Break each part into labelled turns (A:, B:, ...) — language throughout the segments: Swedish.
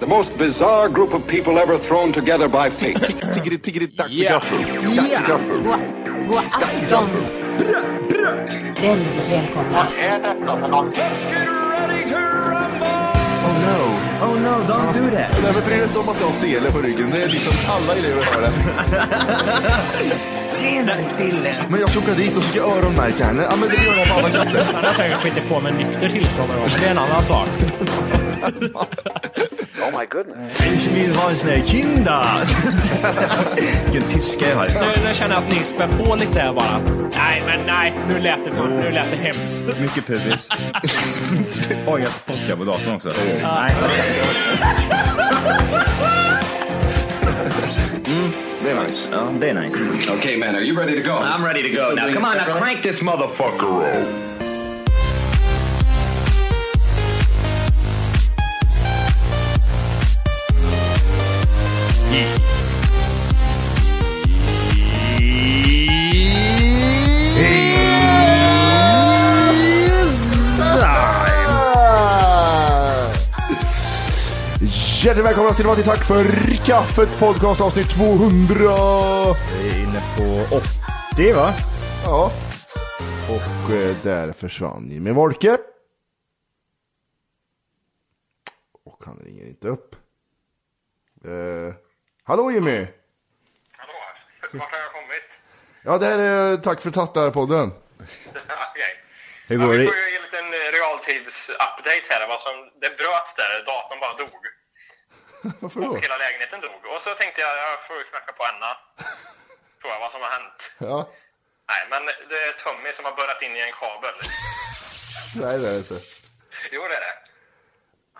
A: The most bizarre group of people ever thrown together by fate.
B: Tiggeri, tiggeri, dack för gaffel. Dack för gaffel.
C: God afton! Väldigt välkomna.
D: Oh no, oh no, don't do that.
B: Nej, men bry dig inte om att jag har sele på ryggen. Det är liksom alla elever har det.
D: Tjenare Dille!
B: Men jag ska åka dit och ska öronmärka henne. Ja, men det gör jag på alla katter.
E: Han har säkert skitit på med nykter tillstånd någon gång, men det är en annan sak.
D: Ich vill ha en sån här kinda! Vilken tyska jag har.
E: Nu, nu känner jag att ni spär på lite här bara. Nej, men nej. Nu lät det, för, nu lät det hemskt.
D: Mycket pubis. Oj, jag spottar på datorn också.
B: Det är nice.
D: Ja, det är nice.
A: okay, man, are you ready to go? Oh, I'm ready to go. Now, come on, now crank this motherfucker up.
B: Hjärtligt välkomna ska ni vara till Tack för kaffet podcast avsnitt 200.
D: Vi är inne på 80 va?
B: Ja. Och eh, där försvann Jimmy Wolke. Och han ringer inte upp. Eh, hallå Jimmy!
F: Hallå, vart har jag kommit?
B: Ja, det här är Tack för tattar-podden.
F: Okej.
D: Hur
F: Ja,
D: går
F: vi
D: det?
F: får ju en liten eh, realtids-update här. Vad som, det bröts där, datorn bara dog.
B: Varför då?
F: Hela lägenheten dog. Och så tänkte jag, jag får ju knacka på Anna. Fråga vad som har hänt.
B: Ja,
F: Nej, men det är Tommy som har börjat in i en kabel.
B: nej det är det inte.
F: Jo, det är det.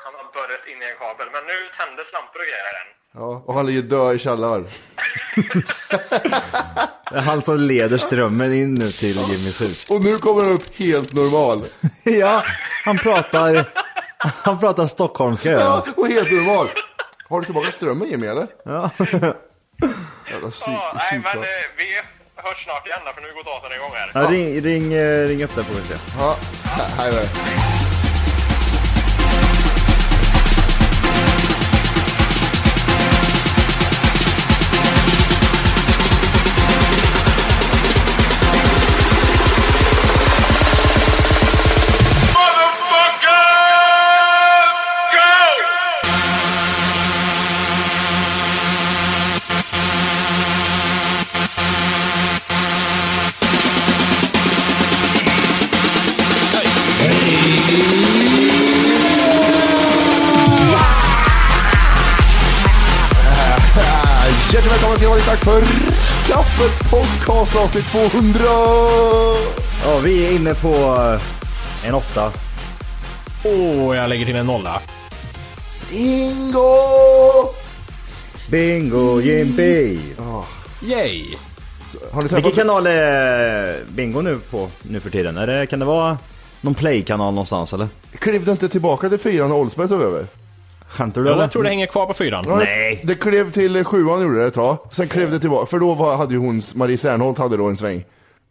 F: Han har börjat in i en kabel. Men nu tändes lampor och grejer här än.
B: Ja, och han ligger död i källaren.
D: Det är han som leder strömmen in nu till Jimmys hus.
B: Och nu kommer han upp helt normal.
D: Ja, han pratar... Han pratar stockholmska
B: Ja,
D: ja.
B: och helt normal. Har du tillbaka strömmen Jimmy eller?
D: ja.
B: Jävla psy-
F: Ja, nej,
B: psykfall.
F: men eh, vi hörs snart igen då, för nu går datorn igång här.
D: Ja, ring, ring, eh, ring upp där får vi se.
B: Ja, nej, nej.
F: Motherfuckers! Go!
B: Hjärtligt välkomna ska ni vara till Tack för kaffet podcast avsnitt 200!
D: Ja, vi är inne på eh, en åtta.
E: Åh, jag lägger till en nolla.
B: Ingo!
D: Bingo Jimmy!
E: Mm. Yay!
B: Har ni
D: Vilken
B: träffat...
D: kanal är Bingo nu på nu för tiden? Är det, kan det vara någon Play-kanal någonstans eller?
B: Klev det inte tillbaka till fyran när Oldsberg tog över?
D: Skämtar du eller?
E: Jag tror det hänger kvar på fyran.
D: Nej.
B: Det klev till eh, sjuan gjorde det ett tag. Sen klev det tillbaka, för då var, hade ju hon, Marie Serneholt hade då en sväng.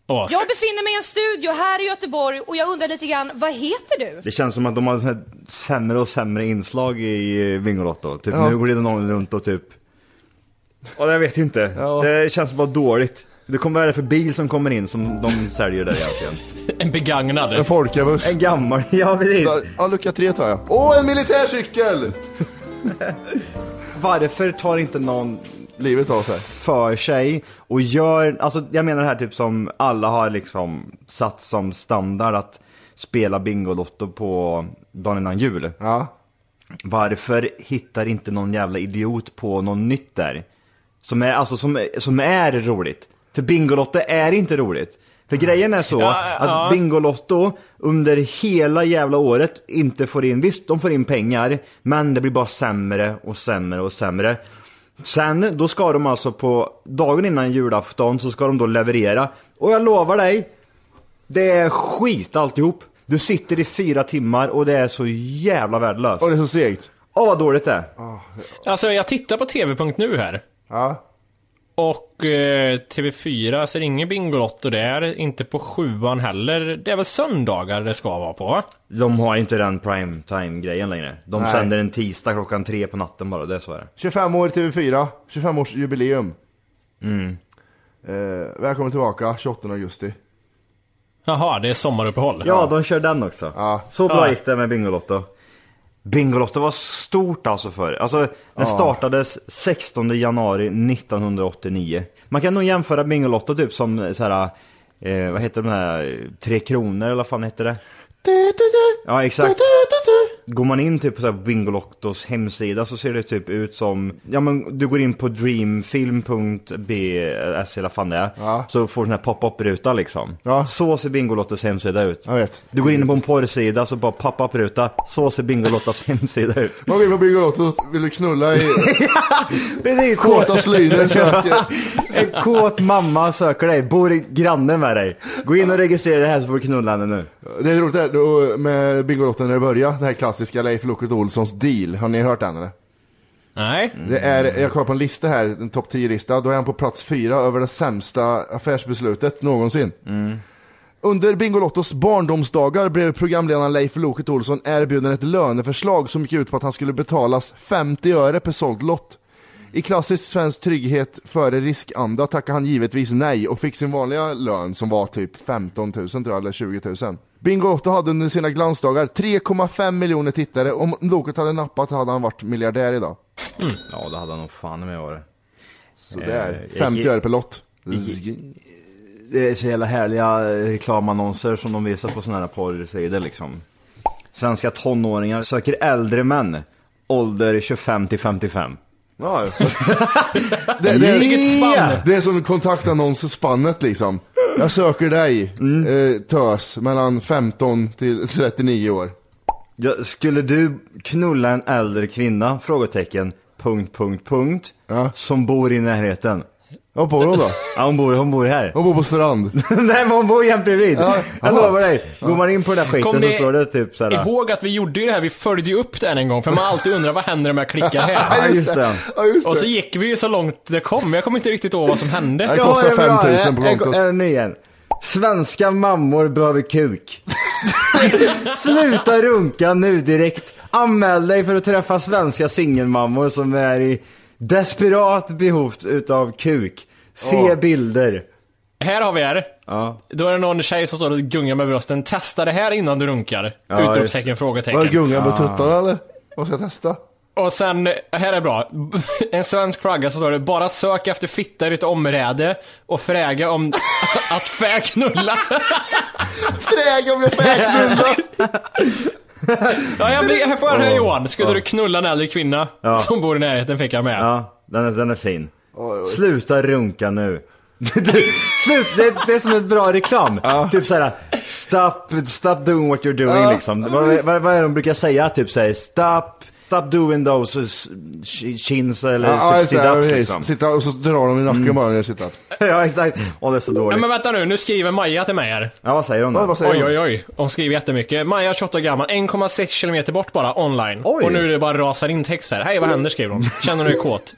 E: Åh,
G: Jag befinner mig i en studio här i Göteborg och jag undrar lite grann, vad heter du?
D: Det känns som att de har så här sämre och sämre inslag i eh, Bingolotto. Typ
B: Ja.
D: nu glider någon runt och typ... Ja, jag vet inte. Det känns bara dåligt. Det kommer vad är det för bil som kommer in som de säljer där egentligen?
E: en
B: En
E: begagnad.
B: folkabuss.
D: En gammal, ja precis.
B: Ja, lucka tre tar jag. Åh, en militärcykel!
D: Varför tar inte någon livet av sig för sig och gör, alltså jag menar det här typ som alla har liksom satt som standard att spela Bingolotto på dagen innan jul. Varför hittar inte någon jävla idiot på något nytt där? Som är, alltså, som, är- som är roligt. För Bingolotto är inte roligt. För grejen är så
E: Ja,
D: att
E: ja.
D: Bingolotto under hela jävla året inte får in, visst de får in pengar, men det blir bara sämre och sämre och sämre. Sen, då ska de alltså på dagen innan julafton så ska de då leverera. Och jag lovar dig, det är skit alltihop. Du sitter i fyra timmar och det är så jävla värdelöst. Och det är så segt. Åh vad dåligt det är.
E: Alltså jag tittar på TV.nu här.
B: Ja.
E: Och eh, TV4 ser ingen Bingolotto där, inte på sjuan heller. Det är väl söndagar det ska vara på? va?
D: De har inte den prime time grejen längre. De
B: Nej.
D: sänder en tisdag klockan tre på natten bara, det är så är det.
B: 25 år TV4, 25 års jubileum.
D: Mm.
B: Eh, välkommen tillbaka 28 augusti.
E: Jaha, det är sommaruppehåll.
D: Ja, de kör den också. Så bra gick det med Bingolotto. Bingolotto var stort alltså förr. Alltså, den
B: Ja.
D: startades 16 januari 1989. Man kan nog jämföra Bingolotto typ som så här, eh, vad heter de här, Tre Kronor eller vad fan heter det? Ja, exakt. Går man in typ på så här Bingolottos hemsida så ser det typ ut som, ja men du går in på dreamfilm.bs eller vad fan det är, så får du sån här pop-up ruta liksom. Så ser Bingolottos hemsida ut. Jag vet. Du går in på en porrsida så bara pop-up ruta, så ser Bingolottos hemsida ut.
B: Man går in på Bingolotto, vill du knulla i...
D: Precis!
B: Kåta slyner söker.
D: en kåt mamma söker dig, bor i- granne med dig. Gå in och registrera det här så får du knulla henne nu.
B: Det är roligt det här, då, med Bingolotto när det börjar, den här klassiska Leif Loket Olssons deal. Har ni hört den eller?
E: Nej.
B: Det är, jag kollar på en lista här, en topp 10-lista. Då är han på plats fyra över det sämsta affärsbeslutet någonsin. Under Bingolottos barndomsdagar blev programledaren Leif Loket Olsson erbjuden ett löneförslag som gick ut på att han skulle betalas 50 öre per såld lott. I klassisk svensk trygghet före riskanda tackade han givetvis nej och fick sin vanliga lön som var typ 15 000 tror jag, eller 20 000. Bingolotto hade under sina glansdagar 3,5 miljoner tittare. Om Loket hade nappat hade han varit miljardär idag.
D: Ja, det hade han nog fan med Eh, varit.
B: Sådär. 50 öre per lott.
D: Det är så jävla härliga eh, reklamannonser som de visar på sådana här porrsidor liksom. Svenska tonåringar söker äldre män, ålder 25 till 55.
B: Ja, det, det,
D: Vilket spann!
B: det är som kontaktannonsspannet liksom. Jag söker dig, eh, tös, mellan 15 till 39 år.
D: Ja, skulle du knulla en äldre kvinna? Frågetecken. Punkt, punkt, punkt. Som bor i närheten.
B: Ja, bor hon då?
D: Ja, hon bor, hon bor här.
B: Hon bor på Strand.
D: Nej, men hon bor jämt bredvid.
B: Ja,
D: Jag
B: ja.
D: lovar dig. Går man in på den där skiten
E: Kom
D: så
E: ni
D: står det typ såhär.
E: Ihåg att vi gjorde ju det här, vi följde ju upp den en gång, för man har alltid undrar vad händer om jag klickar
D: Ja,
E: här?
D: just det.
B: Ja, just
E: Och så gick vi ju så långt det kom, jag kommer inte riktigt ihåg vad som hände.
B: Det kostar 5000 på kontot.
D: En ny igen. Svenska mammor behöver kuk. Sluta runka nu direkt. Anmäl dig för att träffa svenska singelmammor som är i desperat behov utav kuk. Se
E: Ja.
D: bilder.
E: Här har vi er. Då är det någon tjej som står och gungar med brösten. Testa det här innan du runkar.
B: Ja,
E: Utropstecken,
B: just-
E: frågetecken.
B: Var det gunga med tuttarna eller? Vad ska jag testa?
E: Och sen, här är bra. En svensk flagga så står det bara sök efter fitta i ditt område och fräga om att fäknulla.
B: Fräga om jag fäknulla!
E: ja, jag, blir- här får jag den här
D: Ja.
E: Johan. Skulle
D: Ja.
E: du knulla en äldre kvinna
D: Ja.
E: som bor i närheten fick jag med.
D: Ja, den är, den är fin. Sluta runka nu. Du, Slut, det, det är som ett bra reklam. Typ såhär, stop, stop doing what you're doing
B: Ja.
D: liksom. Vad, vad, vad är det de brukar säga? Typ såhär, stop, stop doing those s- sh- chins eller
B: Ja, ja,
D: sit-
B: just det,
D: sit-ups
B: precis.
D: liksom.
B: Sitta och så drar de i nacken bara när jag sitter upp.
D: ja, exakt. Åh, det är så
E: Ja,
D: dåligt.
E: men vänta nu, nu skriver Maja till mig här.
D: Ja, vad säger hon då?
E: oj, oj, oj. Hon skriver jättemycket. Maja, 28 år gammal, 1,6 kilometer bort bara, online. Och nu är det bara rasar in text här. Hej, vad händer? skriver hon. Känner du dig kåt?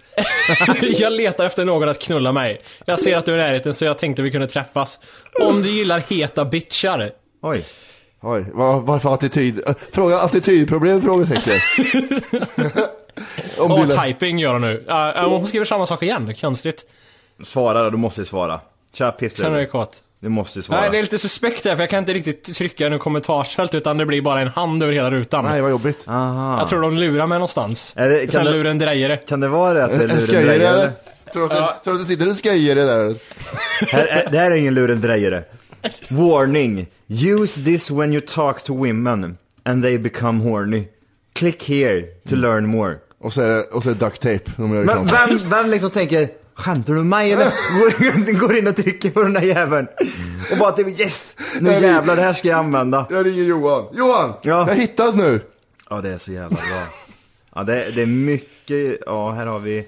E: jag letar efter någon att knulla mig. Jag ser att du är i närheten så jag tänkte vi kunde träffas. Om du gillar heta bitchar.
D: Oj.
B: Oj, vad, varför attityd? Äh, Fråga attitydproblem? Frågetecken.
E: Om
B: du lä-
E: typing gör hon nu. Uh, hon skriver samma sak igen, konstigt.
D: Svara då, du måste ju svara. Tja,
E: Känner du dig
D: pisslur.
E: kåt?
D: Du måste ju svara.
E: Nej, det är lite suspekt där för jag kan inte riktigt trycka nu kommentarsfält utan det blir bara en hand över hela rutan.
B: Nej, vad jobbigt.
D: Aha.
E: Jag tror de lurar mig någonstans.
D: Är det- kan
E: Och Sen
D: det-
E: luren drejare.
D: Kan det vara det att det är
B: En
D: lurendrejare?
B: sköjare. Tror du att det- tror du att det sitter en sköjare där?
D: Här är- Det här är ingen lurendrejare. Warning! Use this when you talk to women and they become horny. Click here to learn more.
B: Och så är Mm. det, och så är det duct tape. De gör
D: Men
B: reklam.
D: vem, vem liksom tänker Skämtar du med mig eller? Går- Går in och trycker på den där jäveln. Och bara typ yes! Nu
B: Nej, det-
D: jävlar det här ska jag använda.
B: Jag ringer Johan. Johan!
D: Ja.
B: Jag har hittat nu!
D: Ja det är så jävla bra. Ja det, det är mycket, ja här har vi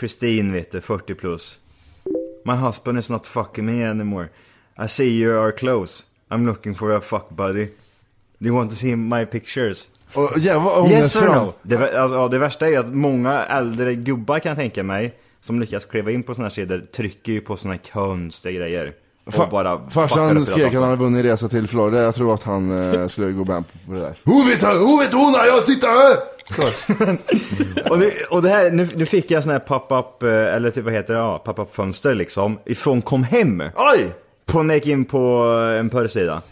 D: Christine vet du, 40 plus. My husband is not fucking me anymore. I see you are close. I'm looking for a fuck buddy. Do you want to see my pictures?
B: Och jävlar vad
D: Yes
B: ångest
D: or
B: för
D: no?
B: dem.
D: Det, vä- alltså, ja, det värsta är att många äldre gubbar kan jag tänka mig, som lyckas kliva in på såna här sidor, trycker ju på såna här konstiga grejer. Och
B: Fa-
D: bara fuckar
B: Farsan
D: upp hela
B: skrek att han
D: datorn.
B: hade vunnit resa till Florida. Jag tror att han eh, skulle gå med på det där. Hon vet, hon vet hon har jag sitter här! Så.
D: Och, nu, och det här, nu, nu fick jag sån här pop-up, eh, eller typ vad heter det, ja, pop-up fönster liksom, ifrån kom hem.
B: Oj!
D: På när jag gick in på eh, en porrsida.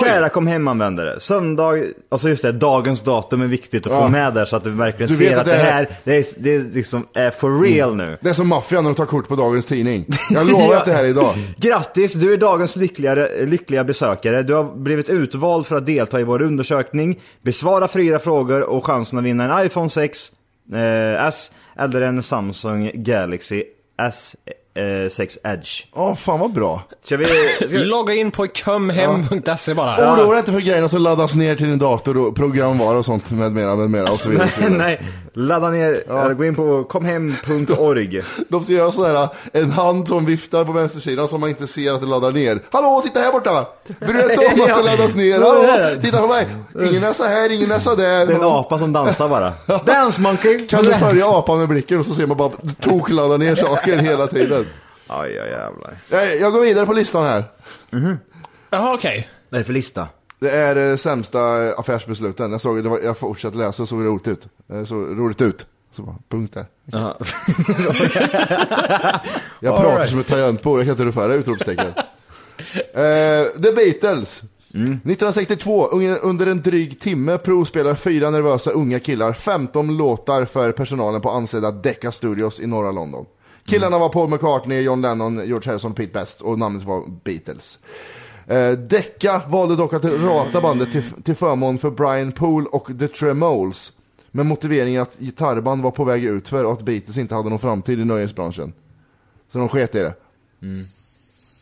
D: Kära kom hem-användare, söndag, alltså just det, dagens datum är viktigt att få
B: Ja.
D: med där så att du verkligen
B: Du vet
D: ser att
B: att
D: det
B: det är- Mm.
D: här, det är, det är liksom är for real nu.
B: Det är som maffian när de tar kort på dagens tidning. Jag lovar att det här är idag.
D: Grattis, du är dagens lyckligare, lyckliga besökare. Du har blivit utvald för att delta i vår undersökning, besvara fyra frågor och chansen att vinna en iPhone 6 eh, S eller en Samsung Galaxy S6 Edge.
B: Ja, fan vad bra.
D: Ska vi... Ska vi
E: Logga in på kumhem.se bara.
B: Oroa dig inte för grejerna som laddas ner till din dator och programvara och sånt med mera, med mera och så vidare. och så vidare.
D: nej, ladda ner, eller gå in på komhem.org.
B: De ska göra sådär, en hand som viftar på vänstersidan som man inte ser att det laddar ner. Hallå, titta här borta! Bryr du dig inte om att det laddas ner?
D: Vad är det
B: Hallå,
D: här?
B: titta på mig! Ingen näsa här, ingen näsa där.
D: Det är en apa som dansar bara. Dance monkey!
B: Kan du
D: Dance.
B: följa apan med blicken och så ser man bara tokladda ner saker hela tiden.
D: Aj, ja, jävlar.
B: Jag, jag går vidare på listan här.
E: Jaha, okej.
D: Vad är det för lista?
B: Det är eh, sämsta eh, affärsbesluten. Jag, såg, det var, jag fortsatte läsa och såg roligt ut. Eh, såg roligt ut. Så bara, punkt där. jag pratar som ett tangentbord, jag kan inte referera utropstecken. eh, The Beatles. 1962, unge- under en dryg timme provspelar fyra nervösa unga killar 15 låtar för personalen på ansedda Decca Studios i norra London. Killarna var Paul McCartney, John Lennon, George Harrison, Pete Best och namnet var Beatles. Eh, Decca valde dock att rata bandet till, till förmån för Brian Poole och The Tremoles. Med motiveringen att gitarrband var på väg utför och att Beatles inte hade någon framtid i nöjesbranschen. Så de sket i det.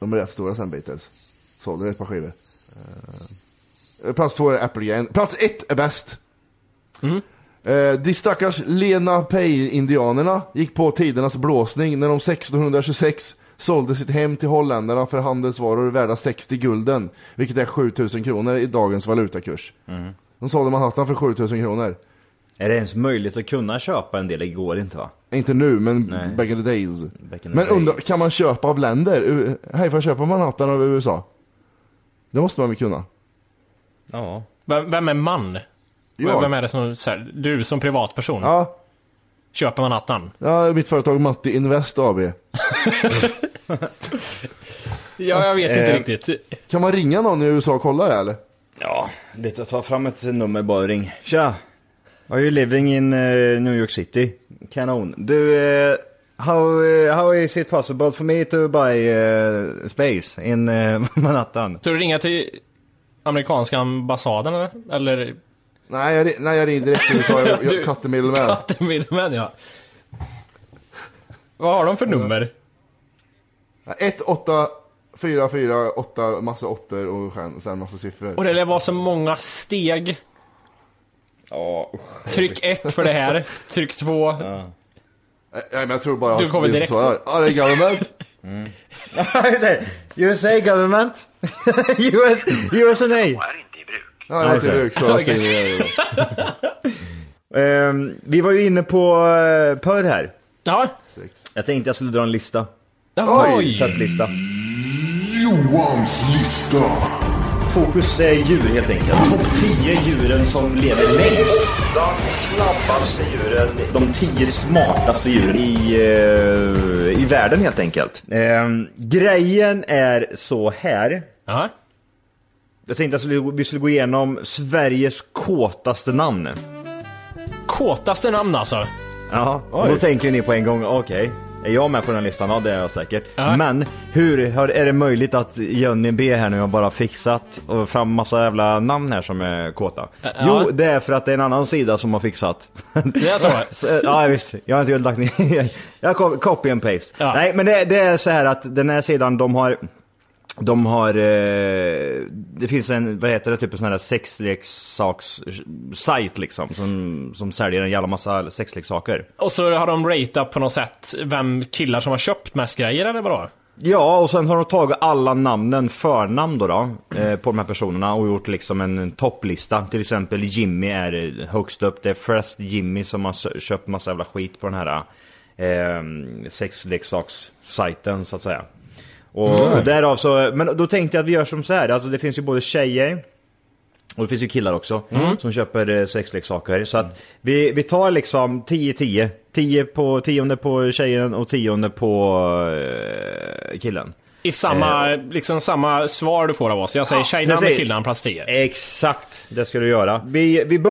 B: De är rätt stora sen Beatles. Sålde ett par skivor. Eh, Plats två är Applegate. Plats ett är bäst. Eh, de stackars Lena Pei-indianerna gick på tidernas blåsning när de 1626 sålde sitt hem till holländarna för handelsvaror värda 60 gulden, vilket är 7000 kronor i dagens valutakurs.
D: Mm.
B: De sålde Manhattan för 7000 kronor.
D: Är det ens möjligt att kunna köpa en del? Det går inte va?
B: Inte nu, men
D: Nej.
B: back in the days.
D: Back in the
B: Men undra,
D: days.
B: kan man köpa av länder? U- Hej, får jag köpa Manhattan av USA? Det måste man väl kunna?
D: Ja.
E: Vem, vem är man?
B: Ja.
E: Vem är det som, så här, du som privatperson,
B: Ja,
E: köper man attan?
B: ja mitt företag Matti Invest AB.
E: Ja, jag vet inte riktigt.
B: Kan man ringa någon i USA och kolla det här, eller?
D: Ja, det, jag tar fram ett nummer bara och ring. Tja! Are you living in eh, New York City? Kanon. Du, eh, how, eh, how is it possible for me to buy eh, space in eh, Manhattan?
E: Ska du ringa till amerikanska ambassaden eller? Eller
B: Nej, jag, ri- nej, jag ringde direkt till USA. Jag, jag, Kattemiddelmän.
E: Kattemiddelmän ja. Vad har de för nummer?
B: 1, 8, 4, 4, 8, massa åttor och stjärn- och sen massa siffror.
E: Och det lär vara så många steg.
D: Ja, usch.
E: Tryck ett för det här, tryck två.
B: Nej, men jag tror bara
E: Du kommer
B: det är
E: direkt
B: så här. Ja, det är government.
D: USA government? US, USA?
F: är inte i bruk.
B: Ja, det är inte
D: Okej.
B: bruk. Så jag skriver det.
D: Ehm, vi var ju inne på uh, Pör här.
E: Ja.
D: Jag tänkte jag skulle dra en lista.
E: Jaha, Oj!
D: Topplista.
B: Johans lista.
H: Fokus är djur helt enkelt. Topp 10 djuren som lever längst. De snabbaste djuren. De 10 smartaste djuren i, eh, i världen helt enkelt. Ehm, grejen är så här.
D: Jag tänkte att vi skulle- vi skulle gå igenom Sveriges kåtaste namn.
E: Kåtaste namn alltså?
D: Ja, och då tänker ni på en gång, okej, är jag med på den här listan? Ja, det är jag säkert.
E: Ja.
D: Men hur har- är det möjligt att Johnny B här nu har bara fixat och fram massa jävla namn här som är kåta?
E: Ja.
D: Jo, det är för att det är en annan sida som har fixat.
E: Det är så?
D: Så, eh, ja visst, jag har inte lagt ner. Jag kom- copy and paste. Nej men det, det är så här att den här sidan de har de har, eh, det finns en, vad heter det, typ en sån här sexleksaks-sajt liksom som, som säljer en jävla massa sexleksaker.
E: Och så har de ratat på något sätt vem killar som har köpt mest grejer eller vadå?
D: Ja, och sen har de tagit alla namnen, förnamn då, då eh, på de här personerna och gjort liksom en topplista. Till exempel Jimmy är eh, högst upp. Det är Frest Jimmy som har sö- köpt massa jävla skit på den här eh, sexleksakssajten så att säga. Och,
H: Mm.
D: och därav så, men då tänkte jag att vi gör som så här, alltså det finns ju både tjejer och det finns ju killar också som köper eh, sexleksaker. Så att vi, vi tar liksom 10-10. 10 på, tionde på tjejen och tionde på eh, killen.
E: I samma,
B: Eh.
E: liksom samma svar du får av oss. Jag säger tjejnamn
D: precis.
E: och killnamn plats 10.
B: Eh.
D: Exakt, det ska du göra. Vi, vi bör-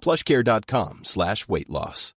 I: plushcare.com slash weight loss.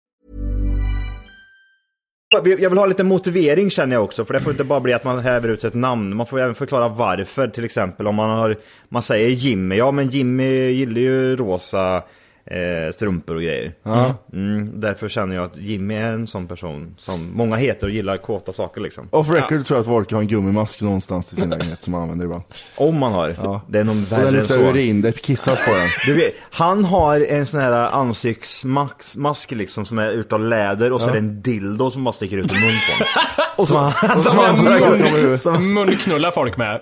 D: vi- jag vill ha lite motivering känner jag också, för det får inte bara bli att man häver ut ett namn. Man får även förklara varför, till exempel om man har, man säger Jimmy, ja men Jimmy gillar ju rosa eh, strumpor och grejer.
B: Ja.
D: Mm, därför känner jag att Jimmy är en sån person som många heter och gillar kåta saker liksom.
B: Off record tror jag att Volker har en gummimask någonstans i sin lägenhet som han använder ibland.
D: Om man har. Det är nog
B: Och den
D: värre än
B: luktar
D: så.
B: urin, det kissas på den.
D: Du vet, han har en sån här ansiktsmask mask liksom som är utav läder och så
B: Ja.
D: är det en dildo som bara sticker ut ur munnen på honom. Och så,
E: Som, som
D: han-
E: mun,
D: som-
E: munknullar folk med.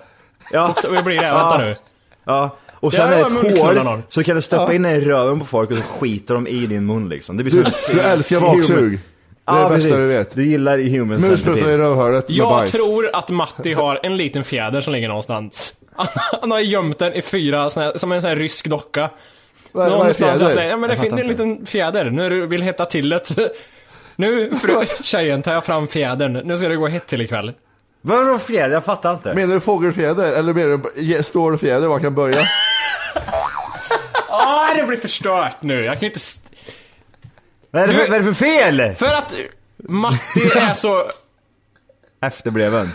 E: Ja. Och så vad blir det?
D: Ja.
E: Vänta nu.
D: Ja. Och
E: Ja,
D: sen
E: det
D: är
E: var
D: det ett
E: munknullar
D: hål,
E: någon.
D: så kan du stoppa
E: Ja.
D: in det i röven på folk och så skiter de i din mun liksom. Det blir
B: Du-
D: som-
B: du älskar baksug. Det är det
D: Ja,
B: bästa
D: precis.
B: du vet.
D: Du gillar human
B: Musprutar i
D: centipede.
B: rövhålet med
E: Jag
B: bajs.
E: tror att Matti har en liten fjäder som ligger någonstans. Han har gömt den i fyra, såna här, som en sån här rysk docka.
B: Vad är- vad är
E: någonstans
B: fjäder?
E: jag säger, ja men det
B: Jag
E: finns
B: fattar
E: en liten fjäder. Nu du vill hetta till det. så- Nu, fru, tjejen, tar jag fram fjädern. Nu ska det gå hett till ikväll.
D: Vadå fjäder? Jag fattar inte.
B: Menar du fågelfjäder eller menar du ge- stålfjäder man kan böja?
E: Ah, det blir förstört nu. Jag kan inte... St-
D: Vad är det för-
E: Nu-
D: vad är det för fel?
E: För att Matti är så...
D: Efterbreven.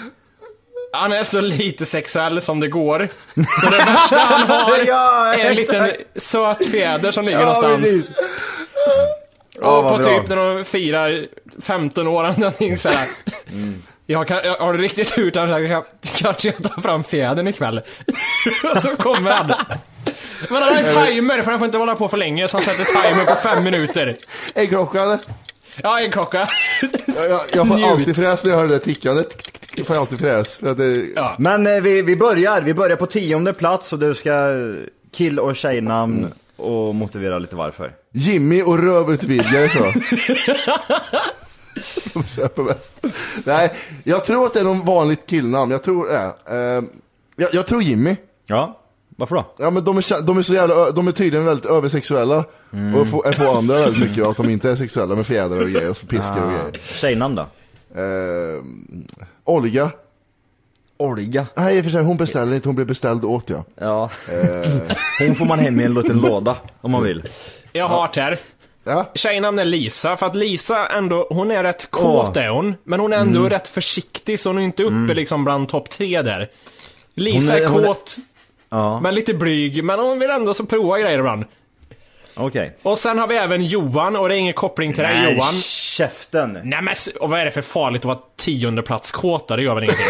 E: Han är så lite sexuell som det går. Så det värsta han har
D: Ja,
E: är
D: exakt.
E: en liten söt fjäder som ligger
D: Ja,
E: någonstans.
D: precis. Ja,
E: Och
D: vad
E: på
D: bra.
E: typ när de firar 15 år eller någonting sådär.
D: Mm.
E: Jag kan, jag, har du riktigt tur utan jag kan, kanske jag tar fram fjädern ikväll. Och så kommer han. Men han har en timer för han får inte hålla på för länge så han sätter timer på fem minuter.
B: Äggklocka eller?
E: Ja, en klocka.
B: Jag får alltid fräs när jag hör det där tickandet. Jag får alltid fräs. För att det...
D: Men eh, vi, vi börjar, vi börjar på tionde plats och du ska eh, kill och tjejnamn och motivera lite varför.
B: Jimmy och rövutvidgare tror jag. De köper bäst. Nej, jag tror att det är någon vanligt killnamn. Jag tror det. Eh, jag, jag tror Jimmy.
D: Ja, varför då?
B: Ja men de är, kä- de är så jävla, ö- de är tydligen väldigt översexuella. Och får, är på andra väldigt mycket att de inte är sexuella med fjädrar och grejer och så piskar och
D: Ah,
B: grejer.
D: Tjejnamn då?
B: Eh, Olga.
D: Olga.
B: Nej i och för sig, hon beställer inte, hon blir beställd åt ja.
D: Ja. Eh, Hon får man hem i en liten låda om man vill.
E: Jag har ett här.
B: Ja.
E: Tjejnamn är Lisa, för att Lisa ändå, hon är rätt kåt är hon, men hon är ändå
D: Mm.
E: rätt försiktig så hon är inte uppe liksom bland topp tre där. Lisa
D: Hon
E: är,
D: är- hon är-
E: kåt,
D: Ja,
E: men lite blyg, men hon vill ändå så prova grejer ibland.
D: okej.
E: Och sen har vi även Johan, och det är ingen koppling till dig
D: Nej,
E: Johan.
D: käften!
E: Nej men, s- och vad är det för farligt att vara tionde plats kåta? Det gör väl ingenting?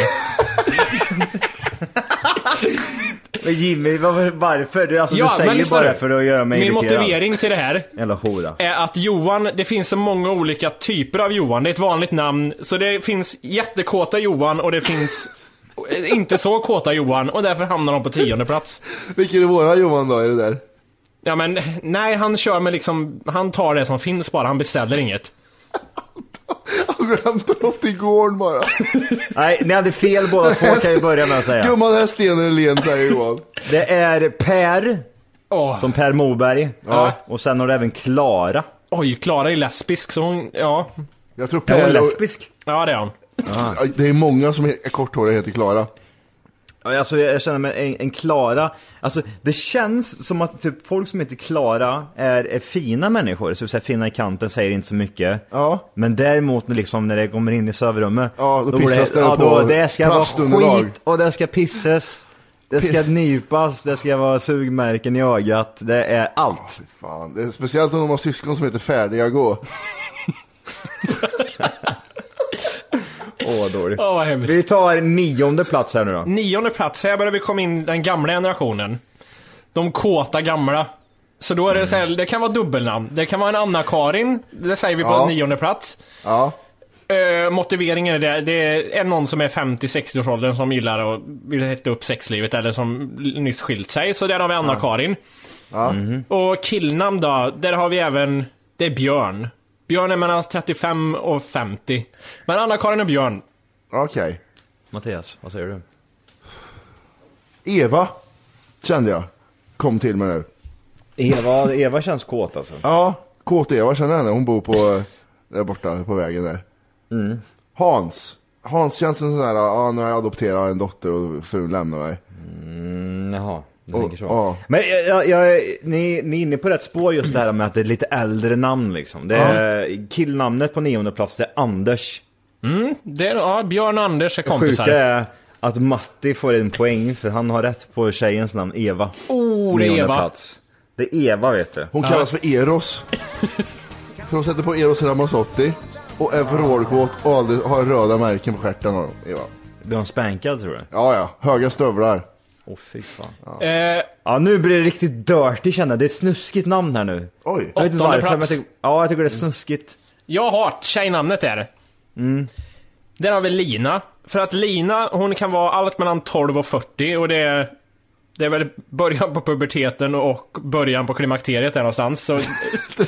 D: Men Jimmy, varför? varför? Du, alltså,
E: Ja,
D: du
E: men
D: säger
E: lyssna
D: bara det
E: nu.
D: för att göra mig
E: Min
D: irriterad.
E: motivering Eh. till det här
D: Jävla hora.
E: är att Johan, det finns så många olika typer av Johan. Det är ett vanligt namn, så det finns jättekåta Johan och det finns inte så kåta Johan och därför hamnar de på tionde plats.
B: Vilken är våra Johan då, är det där?
E: Ja men, nej han kör med liksom, han tar det som finns bara, han beställer inget.
B: Jag glömde något igår bara.
D: Nej, ni hade fel båda två kan jag ju börja med att säga.
B: Gumman, den här stenen är len säger Johan.
D: Det är Per,
E: Åh,
D: som Per Moberg. Och sen har du även Klara.
E: Oj, Klara är lesbisk så hon, ja.
B: Jag tror
D: Är hon
B: Per och...
D: lesbisk?
E: Ja det är hon.
B: Det är många som är korthåriga heter Klara.
D: Ja, Alltså jag jag känner mig en, en Klara, alltså det känns som att typ folk som heter Klara är, är fina människor, så att säga, fina i kanten, säger inte så mycket.
B: Ja.
D: Men däremot när liksom när det kommer in i sovrummet,
B: Ja, då
D: går
B: pissas det
D: ja,
B: på
D: då, det ska vara
B: plastunderlag.
D: skit och det ska pisses, det ska nypas, det ska vara sugmärken i ögat, det är allt.
B: Fan, det är speciellt om de har syskon som heter Färdiga gå.
D: Åh vad dåligt.
E: Åh vad hemskt.
D: Vi tar nionde plats här nu då.
E: Nionde plats, här börjar vi komma in den gamla generationen. De kåta gamla. Så då är det så här, det kan vara dubbelnamn. Det kan vara en Anna-Karin, det säger vi på
B: Ja.
E: nionde plats.
B: Ja.
E: Eh, motiveringen är det, det är någon som är 50-60-årsåldern som gillar och vill hetta upp sexlivet eller som l- nyss skilt sig. Så där har vi Anna-Karin.
B: Ja.
E: Och killnamn då, där har vi även, det är Björn. Björn är mellan 35 och 50. Men Anna-Karin och Björn,
B: Okej.
D: Mattias, vad säger du?
B: Eva, kände jag. Kom till mig nu.
D: Eva, Eva känns kåt alltså.
B: Ja, KT-Eva känner jag henne. Hon bor på, där borta på vägen där. Hans. Hans känns en sån där, ja nu har jag adopterat en dotter och frun lämnar mig.
D: Mm, jaha, du
B: Och-
D: tänker så.
B: ja.
D: Men jag, jag, jag, ni, ni är inne på rätt spår just det här med att det är lite äldre namn liksom. Det är, Killnamnet på nionde plats det är Anders.
E: det är, ja, Björn och Anders är kompisar.
D: Sjuka är att Matti får en poäng för han har rätt på tjejens namn Eva.
E: Oh, det är
D: Nionde
E: Eva.
D: Plats. Det är Eva vet du.
B: Hon kallas för Eros. För hon sätter på Eros Ramazzotti. Och är vrålkåt och aldrig- har röda märken på stjärten har hon, Eva.
D: Blir hon spankad tror du?
B: Ja, ja. Höga stövlar.
D: Åh fy fan. Ja.
E: Eh,
D: nu blir det riktigt dirty känner jag. Det är ett snuskigt namn här nu.
B: Oj.
D: Jag vet inte varför
E: Åttonde
D: men jag
E: plats.
D: tycker, ja jag tycker det är snuskigt.
E: Jag har ett tjejnamnet där. Mm. Där har vi Lina. För att Lina, hon kan vara allt mellan 12 och 40 och det är... Det är väl början på puberteten och början på klimakteriet där någonstans. Så,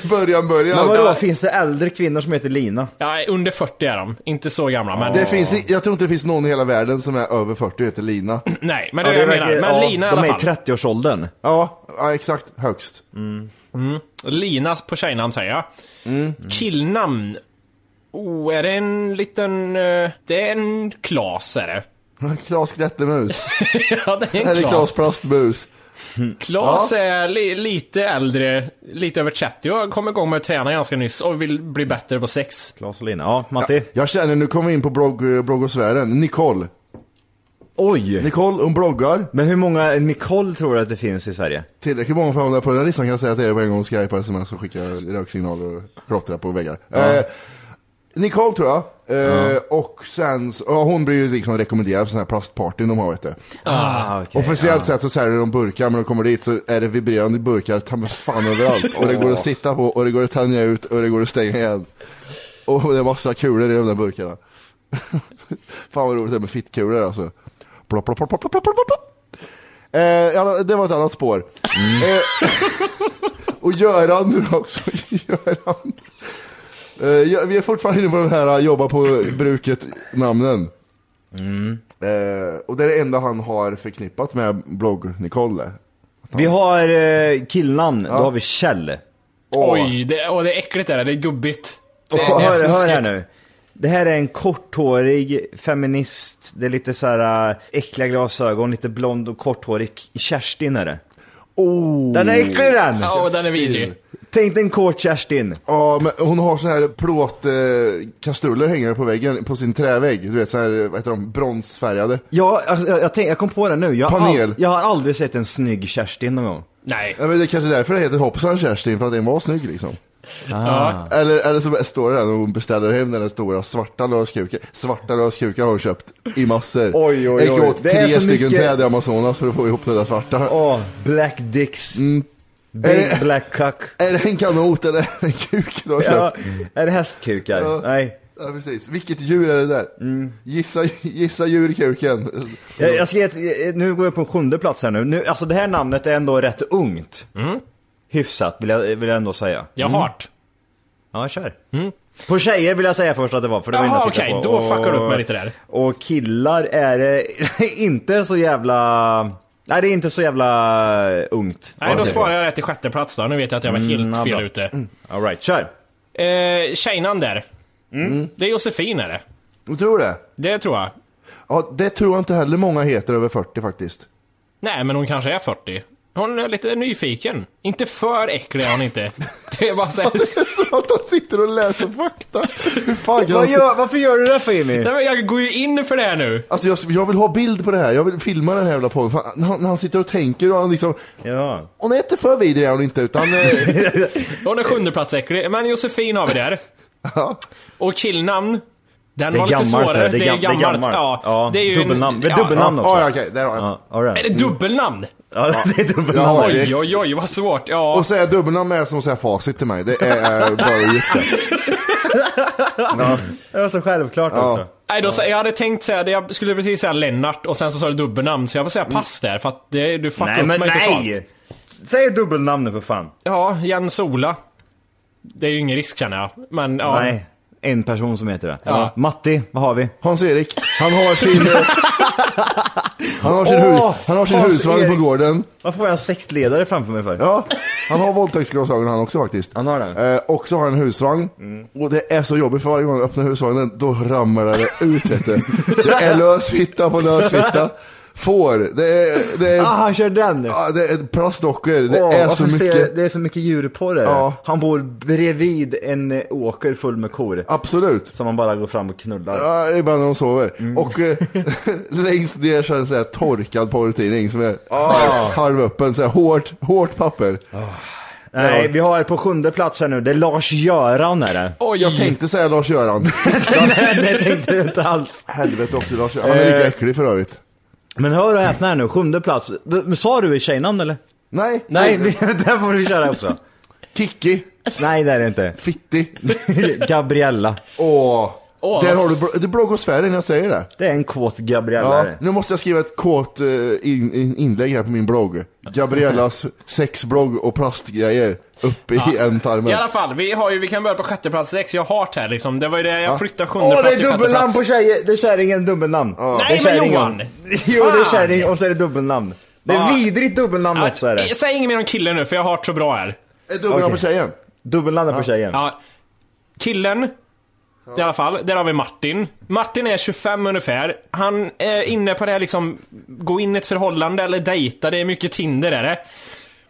B: Början, början.
D: Men vadå, finns det äldre kvinnor som heter Lina?
E: ja, under 40 är de. Inte så gamla, men...
B: Det finns, i- jag tror inte det finns någon i hela världen som är över 40 och heter Lina.
E: Nej, men det är det jag menar.
D: verkar-
E: Men
D: ja,
E: Lina i
D: De
E: alla
D: är i
E: fall.
D: 30-årsåldern.
B: Ja, ja exakt. Högst.
E: Lina på tjejnamn säger jag. Killnamn. Oh, är det en liten... eh, Det är en Klas är det.
B: Klas Grättemus.
E: ja, det är en
B: Eller
E: Klas.
B: Klas Plastmus.
E: Klas är li lite äldre, lite över 30 och kom igång med att träna ganska nyss och vill bli bättre på sex.
D: Klas och Lina. Ja, Matti.
B: Jag känner, nu kommer vi in på blogg, bloggosfären. Nicole.
D: Oj!
B: Nicole, hon bloggar.
D: Men hur många Nicole tror du att det finns i Sverige?
B: Tillräckligt många för att hamna på den här listan kan jag säga till er på en gång. Skype och sms och skicka röksignaler och klottra på väggar. Eh, Nicole tror jag. Eh, Och sen, så- ja, hon blir ju liksom rekommenderad för sådana här plastpartyn de har vet du.
D: Ah, okej.
B: Officiellt sett så säljer de burkar, men när de kommer dit så är det vibrerande burkar ta mig fan överallt. Och det går att sitta på, och det går att tänja ut, och det går att stänga igen. Och det är massa kulor i de där burkarna. fan vad roligt det är med fittkulor alltså. Plopp, plopp, plopp, plopp, plopp, plopp, plopp, plopp. Eh, ja, det var ett annat spår. Eh, och Göran nu också. Göran. Eh, ja, vi är fortfarande inne på den här eh, jobba på bruket-namnen. Eh, och det är det enda han har förknippat med blogg-Nicole.
D: Vi har eh, killnamn, då har vi Kjell.
E: Oj, det, och det är äckligt det där, det är gubbigt. Det,
D: Och
E: det är
D: hör, hör
E: snuskigt.
D: här nu. Det här är en korthårig feminist, det är lite så här äh, äckliga glasögon, lite blond och korthårig Kerstin är det.
B: Oh.
D: Den är äcklig den!
E: Ja, den är vidrig.
D: Tänk dig en kort Kerstin.
B: Ja, men hon har såna här plåtkastruller hängande på väggen, på sin trävägg. Du vet, så här, vad heter de, bronsfärgade.
D: Ja, alltså, jag, jag, tänk, jag kom på det nu. Jag, har
B: Panel.
D: al- jag har aldrig sett en snygg Kerstin någon gång.
E: Nej.
B: Ja, men det är kanske därför det heter Hoppsan Kerstin, för att den var snygg liksom.
D: Ah.
B: Eller, eller så står det där när hon beställer hem den där stora svarta löskuken. Svarta löskuken har hon köpt i massor.
D: Oj, oj,
B: Jag gick
D: oj.
B: åt
D: Det är
B: tre
D: så
B: stycken
D: mycket-
B: träd i Amazonas för att få ihop det där svarta.
D: Åh, Black Dicks. Big
B: Mm. Är det-
D: black cock.
B: Är det en kanot eller är det en kuk du har
D: Ja, Mm.
B: köpt?
D: är det hästkukar?
B: Ja.
D: Nej.
B: Ja, precis. Vilket djur är det där? Gissa, gissa djurkuken.
D: Jag, jag ska ge ett, eh, nu går jag på sjunde plats här nu. nu. Alltså det här namnet är ändå rätt ungt.
E: Mm.
D: Hyfsat vill jag, vill jag ändå säga.
E: Jag
D: Mm.
E: hart.
D: Ja, kör. På tjejer vill jag säga först att det var, för det var
E: Mm. Jaha,
D: innan jag tittade
E: okej,
D: på.
E: då fuckar du upp
D: Och-
E: mig lite där.
D: Och killar är det inte så jävla... Nej, det är inte så jävla ungt.
E: Nej, då sparar jag det till sjätte plats då. Nu vet jag att jag var helt
D: ja,
E: fel
D: bra.
E: ute.
D: All right, kör.
E: Eh, tjejnamn där.
D: Mm.
E: Mm. Det är Josefin är det.
B: Du tror det?
E: Det tror jag.
B: Ja, det tror jag inte heller många heter över 40 faktiskt.
E: Nej, men hon kanske är 40. Hon är lite nyfiken. Inte för äcklig är hon inte. Det är bara så här...
B: Det ser som att han sitter och läser fakta. Hur fan kan
D: Vad
B: han
D: gör, varför gör du det för Jimmy?
E: Nej, men jag går ju in för det här nu.
B: Alltså jag, jag vill ha bild på det här, jag vill filma den här jävla podden. Fan, När han, när han sitter och tänker och han liksom...
D: Ja.
B: Hon är inte för vidrig är hon inte utan... eh,
E: Hon är sjundeplatsäcklig. Men Josefin har vi där. Och killnamn. Den
D: Det är
E: var lite
D: gammalt
E: svårare.
D: det här, det är gam- det är gammalt.
E: Ja,
D: Ja,
E: det är ju
D: dubbelnamn. Det är
E: Ja,
D: dubbelnamn
E: ja.
D: också.
B: ja, ja, okej, där har jag
D: Ja,
B: det.
D: all right.
E: Är det dubbelnamn?
D: Ja, det är
B: Jag
D: dubbelnamn.
B: har
E: Oj,
B: det.
E: oj, oj, vad svårt. Ja.
B: Och säga dubbelnamn är som att säga facit till mig. Det är eh, bara jätte...
D: Det var så självklart också.
E: Nej, då, så, jag hade tänkt säga, det- jag skulle precis säga Lennart och sen så sa du dubbelnamn, så jag får säga pass där för att det, du fuckar
D: Mm. Nej,
E: upp
D: men
E: mig totalt.
D: nej! Säg dubbelnamn nu för fan.
E: Ja, Jens Ola. Det är ju ingen risk känner jag. Men ja.
D: Nej, en person som heter det.
E: Ja.
D: Matti, vad har vi?
B: Hans-Erik, han har sin... eh, han har sin,
D: Åh,
B: hus, han har sin
D: Hans
B: husvagn på
D: Erik.
B: gården.
D: Varför har jag sektledare framför mig för?
B: Ja, han har våldtäktsglasögon han också faktiskt.
D: Han har det. Mm.
B: Eh, och så har han en husvagn. Och det är så jobbigt för varje gång jag öppnar husvagnen, då ramlar det ut vet du. Det är lös fitta på lös fitta. Får, det är, det är,
D: Ah, han kör den!
B: ja, det är plastdockor, det
D: Åh,
B: är
D: varför
B: så
D: ser jag-
B: mycket.
D: det är så mycket djurporr där.
B: Ja.
D: Han bor bredvid en eh, åker full med kor.
B: Absolut.
D: Som han bara går fram och knullar.
B: Ja, ibland när de sover.
D: Mm.
B: Och eh, längst ner så är det en sån här torkad porrtidning som är
D: Ah.
B: halvöppen, så här hårt, hårt papper.
D: Nej, vi har på sjunde plats här nu, det är Lars-Göran är det.
B: Oj, jag
D: Mm.
B: tänkte säga Lars-Göran.
D: Nej, det tänkte jag inte alls.
B: Helvete också Lars-Göran, han är lika
D: Eh.
B: äcklig för övrigt.
D: Men hör och häpna här nu, sjunde plats. Du- men Sa du i tjejnamn eller?
B: Nej,
D: Nej, vi- där får du köra också.
B: Kikki,
D: Nej, det är det inte.
B: Fitti.
D: Gabriella.
B: Åh,
E: Åh,
B: där
E: vad-
B: har du, bl- det är blogosfären jag säger det.
D: Det är en kåt Gabriella.
B: Ja,
D: är det.
B: nu måste jag skriva ett kort eh, in, in, inlägg här på min blogg. Gabriellas sexblogg och plastgrejer uppe i en
E: I
B: tarmen.
E: alla fall, vi, har ju, vi kan börja på sjätteplats sex, jag har det här liksom. Det var ju det jag flyttade sjunde
D: Åh, det
E: plats till
D: är dubbelnamn
E: sjätteplats.
D: på tjejer! Det är kärringen dubbelnamn.
E: Nej,
D: det är
E: men
D: kärringen.
E: Johan!
D: Jo, det är
E: Fan!
D: kärring och så är det dubbelnamn. Det
E: Ja.
D: är vidrigt dubbelnamn också är det.
E: Ja, Säg inget mer om killen nu för jag har det så bra här.
B: Är dubbelnamn
D: Okej.
B: på tjejen?
D: Dubbelnamn på tjejen.
E: Ja, killen. I alla fall, där har vi Martin. Martin är 25 ungefär. Han är inne på det här liksom, gå in i ett förhållande eller dejta, det är mycket Tinder är det.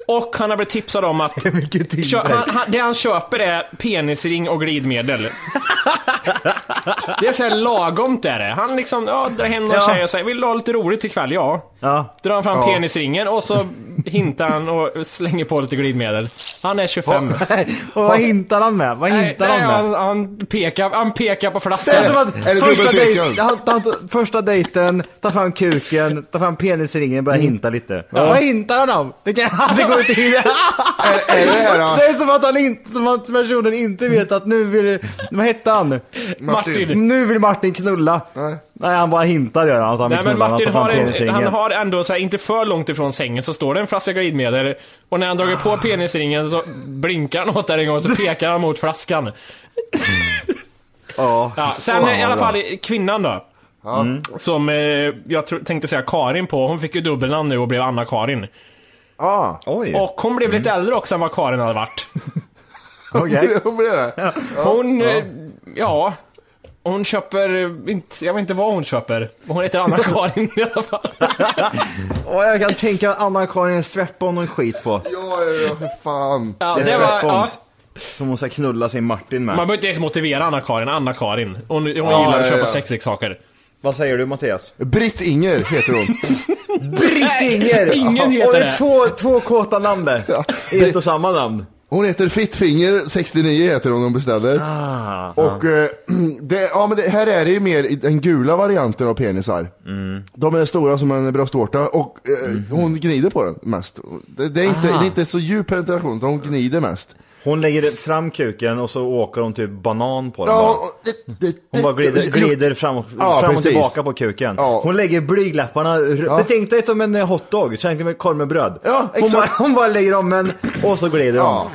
E: Och han har blivit tipsad om att...
D: Mycket till
E: Kö-
D: dig.
E: han, han, det han köper är penisring och glidmedel. det är såhär lagomt är det. Han liksom, ja, drar hem någon
D: Ja.
E: tjej och säger “Vill du ha lite roligt ikväll?” Ja.
D: Ja.
E: Drar han fram
B: Ja.
E: penisringen och så hintar han och slänger på lite glidmedel. Han är 25.
D: Och vad hintar han med? Vad
E: Nej,
D: hintar
E: nej,
D: han med?
E: han, han, pekar, han pekar på
D: Det är som
E: flaskan.
D: att
B: Är det
D: första,
B: dubbelpekan?
D: dej- han, han, första dejten, tar fram kuken, tar fram penisringen och börjar
E: Mm.
D: hinta lite. Vad hintar han om? Det, kan, det går inte in.
B: Är, är det här
D: Det
B: då?
D: är som att, han inte, som att personen inte vet att nu vill... Vad hette han?
E: Martin.
D: Nu vill Martin knulla. Nej, han bara hintar gör han att han vill
E: Nej men
D: knulla. han
E: Martin
D: tar fram
E: har, en,
D: penisringen.
E: han har ändå så här, inte för långt ifrån sängen så står det en flaska glidmedel och när han drar på penisringen så blinkar han åt där en gång och så pekar han mot flaskan.
B: Ja,
E: Ja,
B: fan,
E: sen
B: vad
E: i alla
B: bra.
E: fall kvinnan då.
D: Mm.
E: Som eh, jag tro, tänkte säga Karin på, hon fick ju dubbelnamn nu och blev Anna-Karin.
B: Ja,
D: Ah, Oj,
E: Och hon blev lite äldre också än vad Karin hade varit.
D: okej.
B: hon blir det.
E: Hon, eh, ja. Och hon köper, eh, inte, jag vet inte vad hon köper. Hon heter Anna-Karin i alla fall.
D: Och jag kan tänka att Anna-Karin strap-on och skit på.
B: Ja, ja, ja, för fan.
E: Ja,
D: det
E: det
D: är
E: var-
D: strap-ons. Som hon ska knulla sin Martin med.
E: Man behöver inte ens motivera Anna-Karin, Anna-Karin. Hon, hon
D: Ja,
E: gillar
D: ja,
E: att köpa
D: ja.
E: sexleksaker.
D: Vad säger du Mattias?
B: Britt-Inger heter hon.
D: Britt-Inger!
E: Ingen heter
D: och det. är
E: det.
D: tvtvå, två kåta namn där. I ett och samma namn.
B: Hon heter Fittfinger69 heter hon hon beställer.
D: Ah,
B: och eh, det, ja, men det, här är det ju mer i den gula varianten av penisar.
D: Mm.
B: De är stora som en bröstvårta och eh,
D: Mhm.
B: hon gnider på den mest. Det, det, är inte, det
D: Aha.
B: är inte så djup penetration utan hon gnider mest.
D: Hon lägger fram kuken och så åker hon typ banan på den
B: Ja,
D: bara.
B: och det- det-
D: Hon bara glider, glider fram och,
B: Ja,
D: fram och
B: precis.
D: tillbaka på kuken. Hon lägger blygdläpparna, ja. tänk dig som en eh, hotdog, tänk dig med korv med bröd.
B: Ja,
D: hon,
B: exakt.
D: bara, hon bara lägger om en och så glider
B: Ja.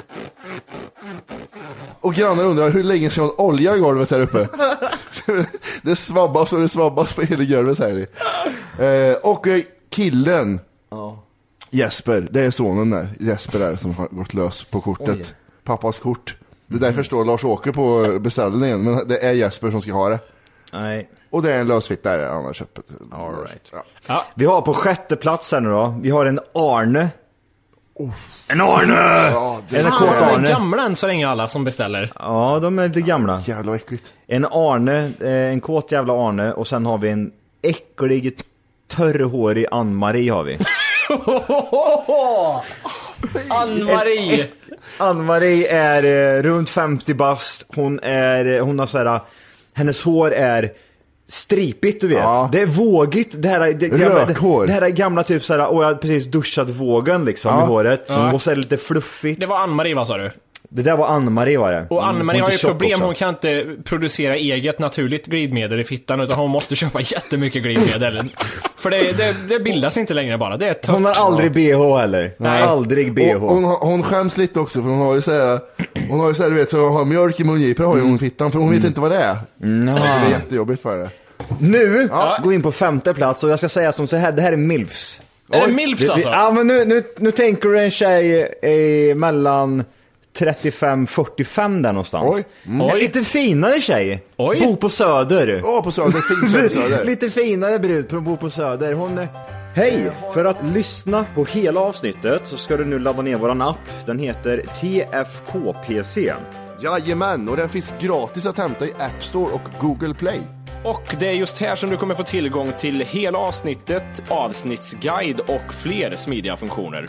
B: Och grannar undrar hur länge ska hon olja i golvet här uppe? det svabbas och det svabbas på hela golvet säger ni. Eh, och eh, killen Jesper, det är sonen där. Jesper där som har gått lös på kortet.
D: Oj.
B: Pappas kort. Det är därför står Lars-Åke på beställningen, men det är Jesper som ska ha det.
D: Nej.
B: Och det är en lösfitta där han har köpt. All
D: right. Vi har på sjätte plats här nu då, vi har en Arne. En Arne! en
E: Fan,
D: kåt
E: de är
D: Arne.
E: gamla än så länge alla som beställer.
D: Ja, de är lite gamla.
B: Jävla vad äckligt.
D: En Arne, eh, en kåt jävla Arne och sen har vi en äcklig törrhårig Ann-Marie har vi.
E: Ann-Marie!
D: Ann-Marie är eh, runt 50 bast, hon är, eh, hon har såhär, hennes hår är stripigt du vet. Det är vågigt, det här, är- det, gamla,
B: Rökhår.
D: det, det här är gamla typ såhär, åh jag har precis duschat vågen liksom
E: Ja.
D: i håret.
E: Ja.
D: Och så är det lite fluffigt.
E: Det var Ann-Marie vad sa du?
D: Det där var Ann-Marie var det.
E: Och
D: Mm, Hon är
E: Ann-Marie har
D: inte
E: ju
D: tjock
E: problem,
D: också.
E: Mm. hon kan inte producera eget naturligt glidmedel i fittan utan hon måste köpa jättemycket glidmedel. För det, det, det bildas inte längre bara, det är tört.
D: Hon har aldrig bh heller.
E: Nej.
D: Aldrig bh.
B: Och hon, har- hon skäms lite också för hon har ju såhär, hon har ju såhär, du vet, så hon har mjölk i mungiporna har ju hon i fittan för hon vet inte vad det är.
D: Nå.
B: Det är jättejobbigt för henne.
D: Nu går in på femte plats och jag ska säga som så här, det här är milfs.
E: Är det milfs alltså?
D: Ja men nu, nu, nu tänker du en tjej eh, mellan 35-45 där någonstans.
B: Oj.
D: En lite finare tjej.
E: Oj.
D: Bor på Söder.
B: Ja, på Söder, fint tjej på Söder.
D: lite finare brud på bor på Söder. Hon eh, Hej! För att lyssna på hela avsnittet så ska du nu ladda ner våran app. Den heter TFKPC.
B: Jajamän, och den finns gratis att hämta i App Store och Google Play.
J: Och det är just här som du kommer få tillgång till hela avsnittet, avsnittsguide och fler smidiga funktioner.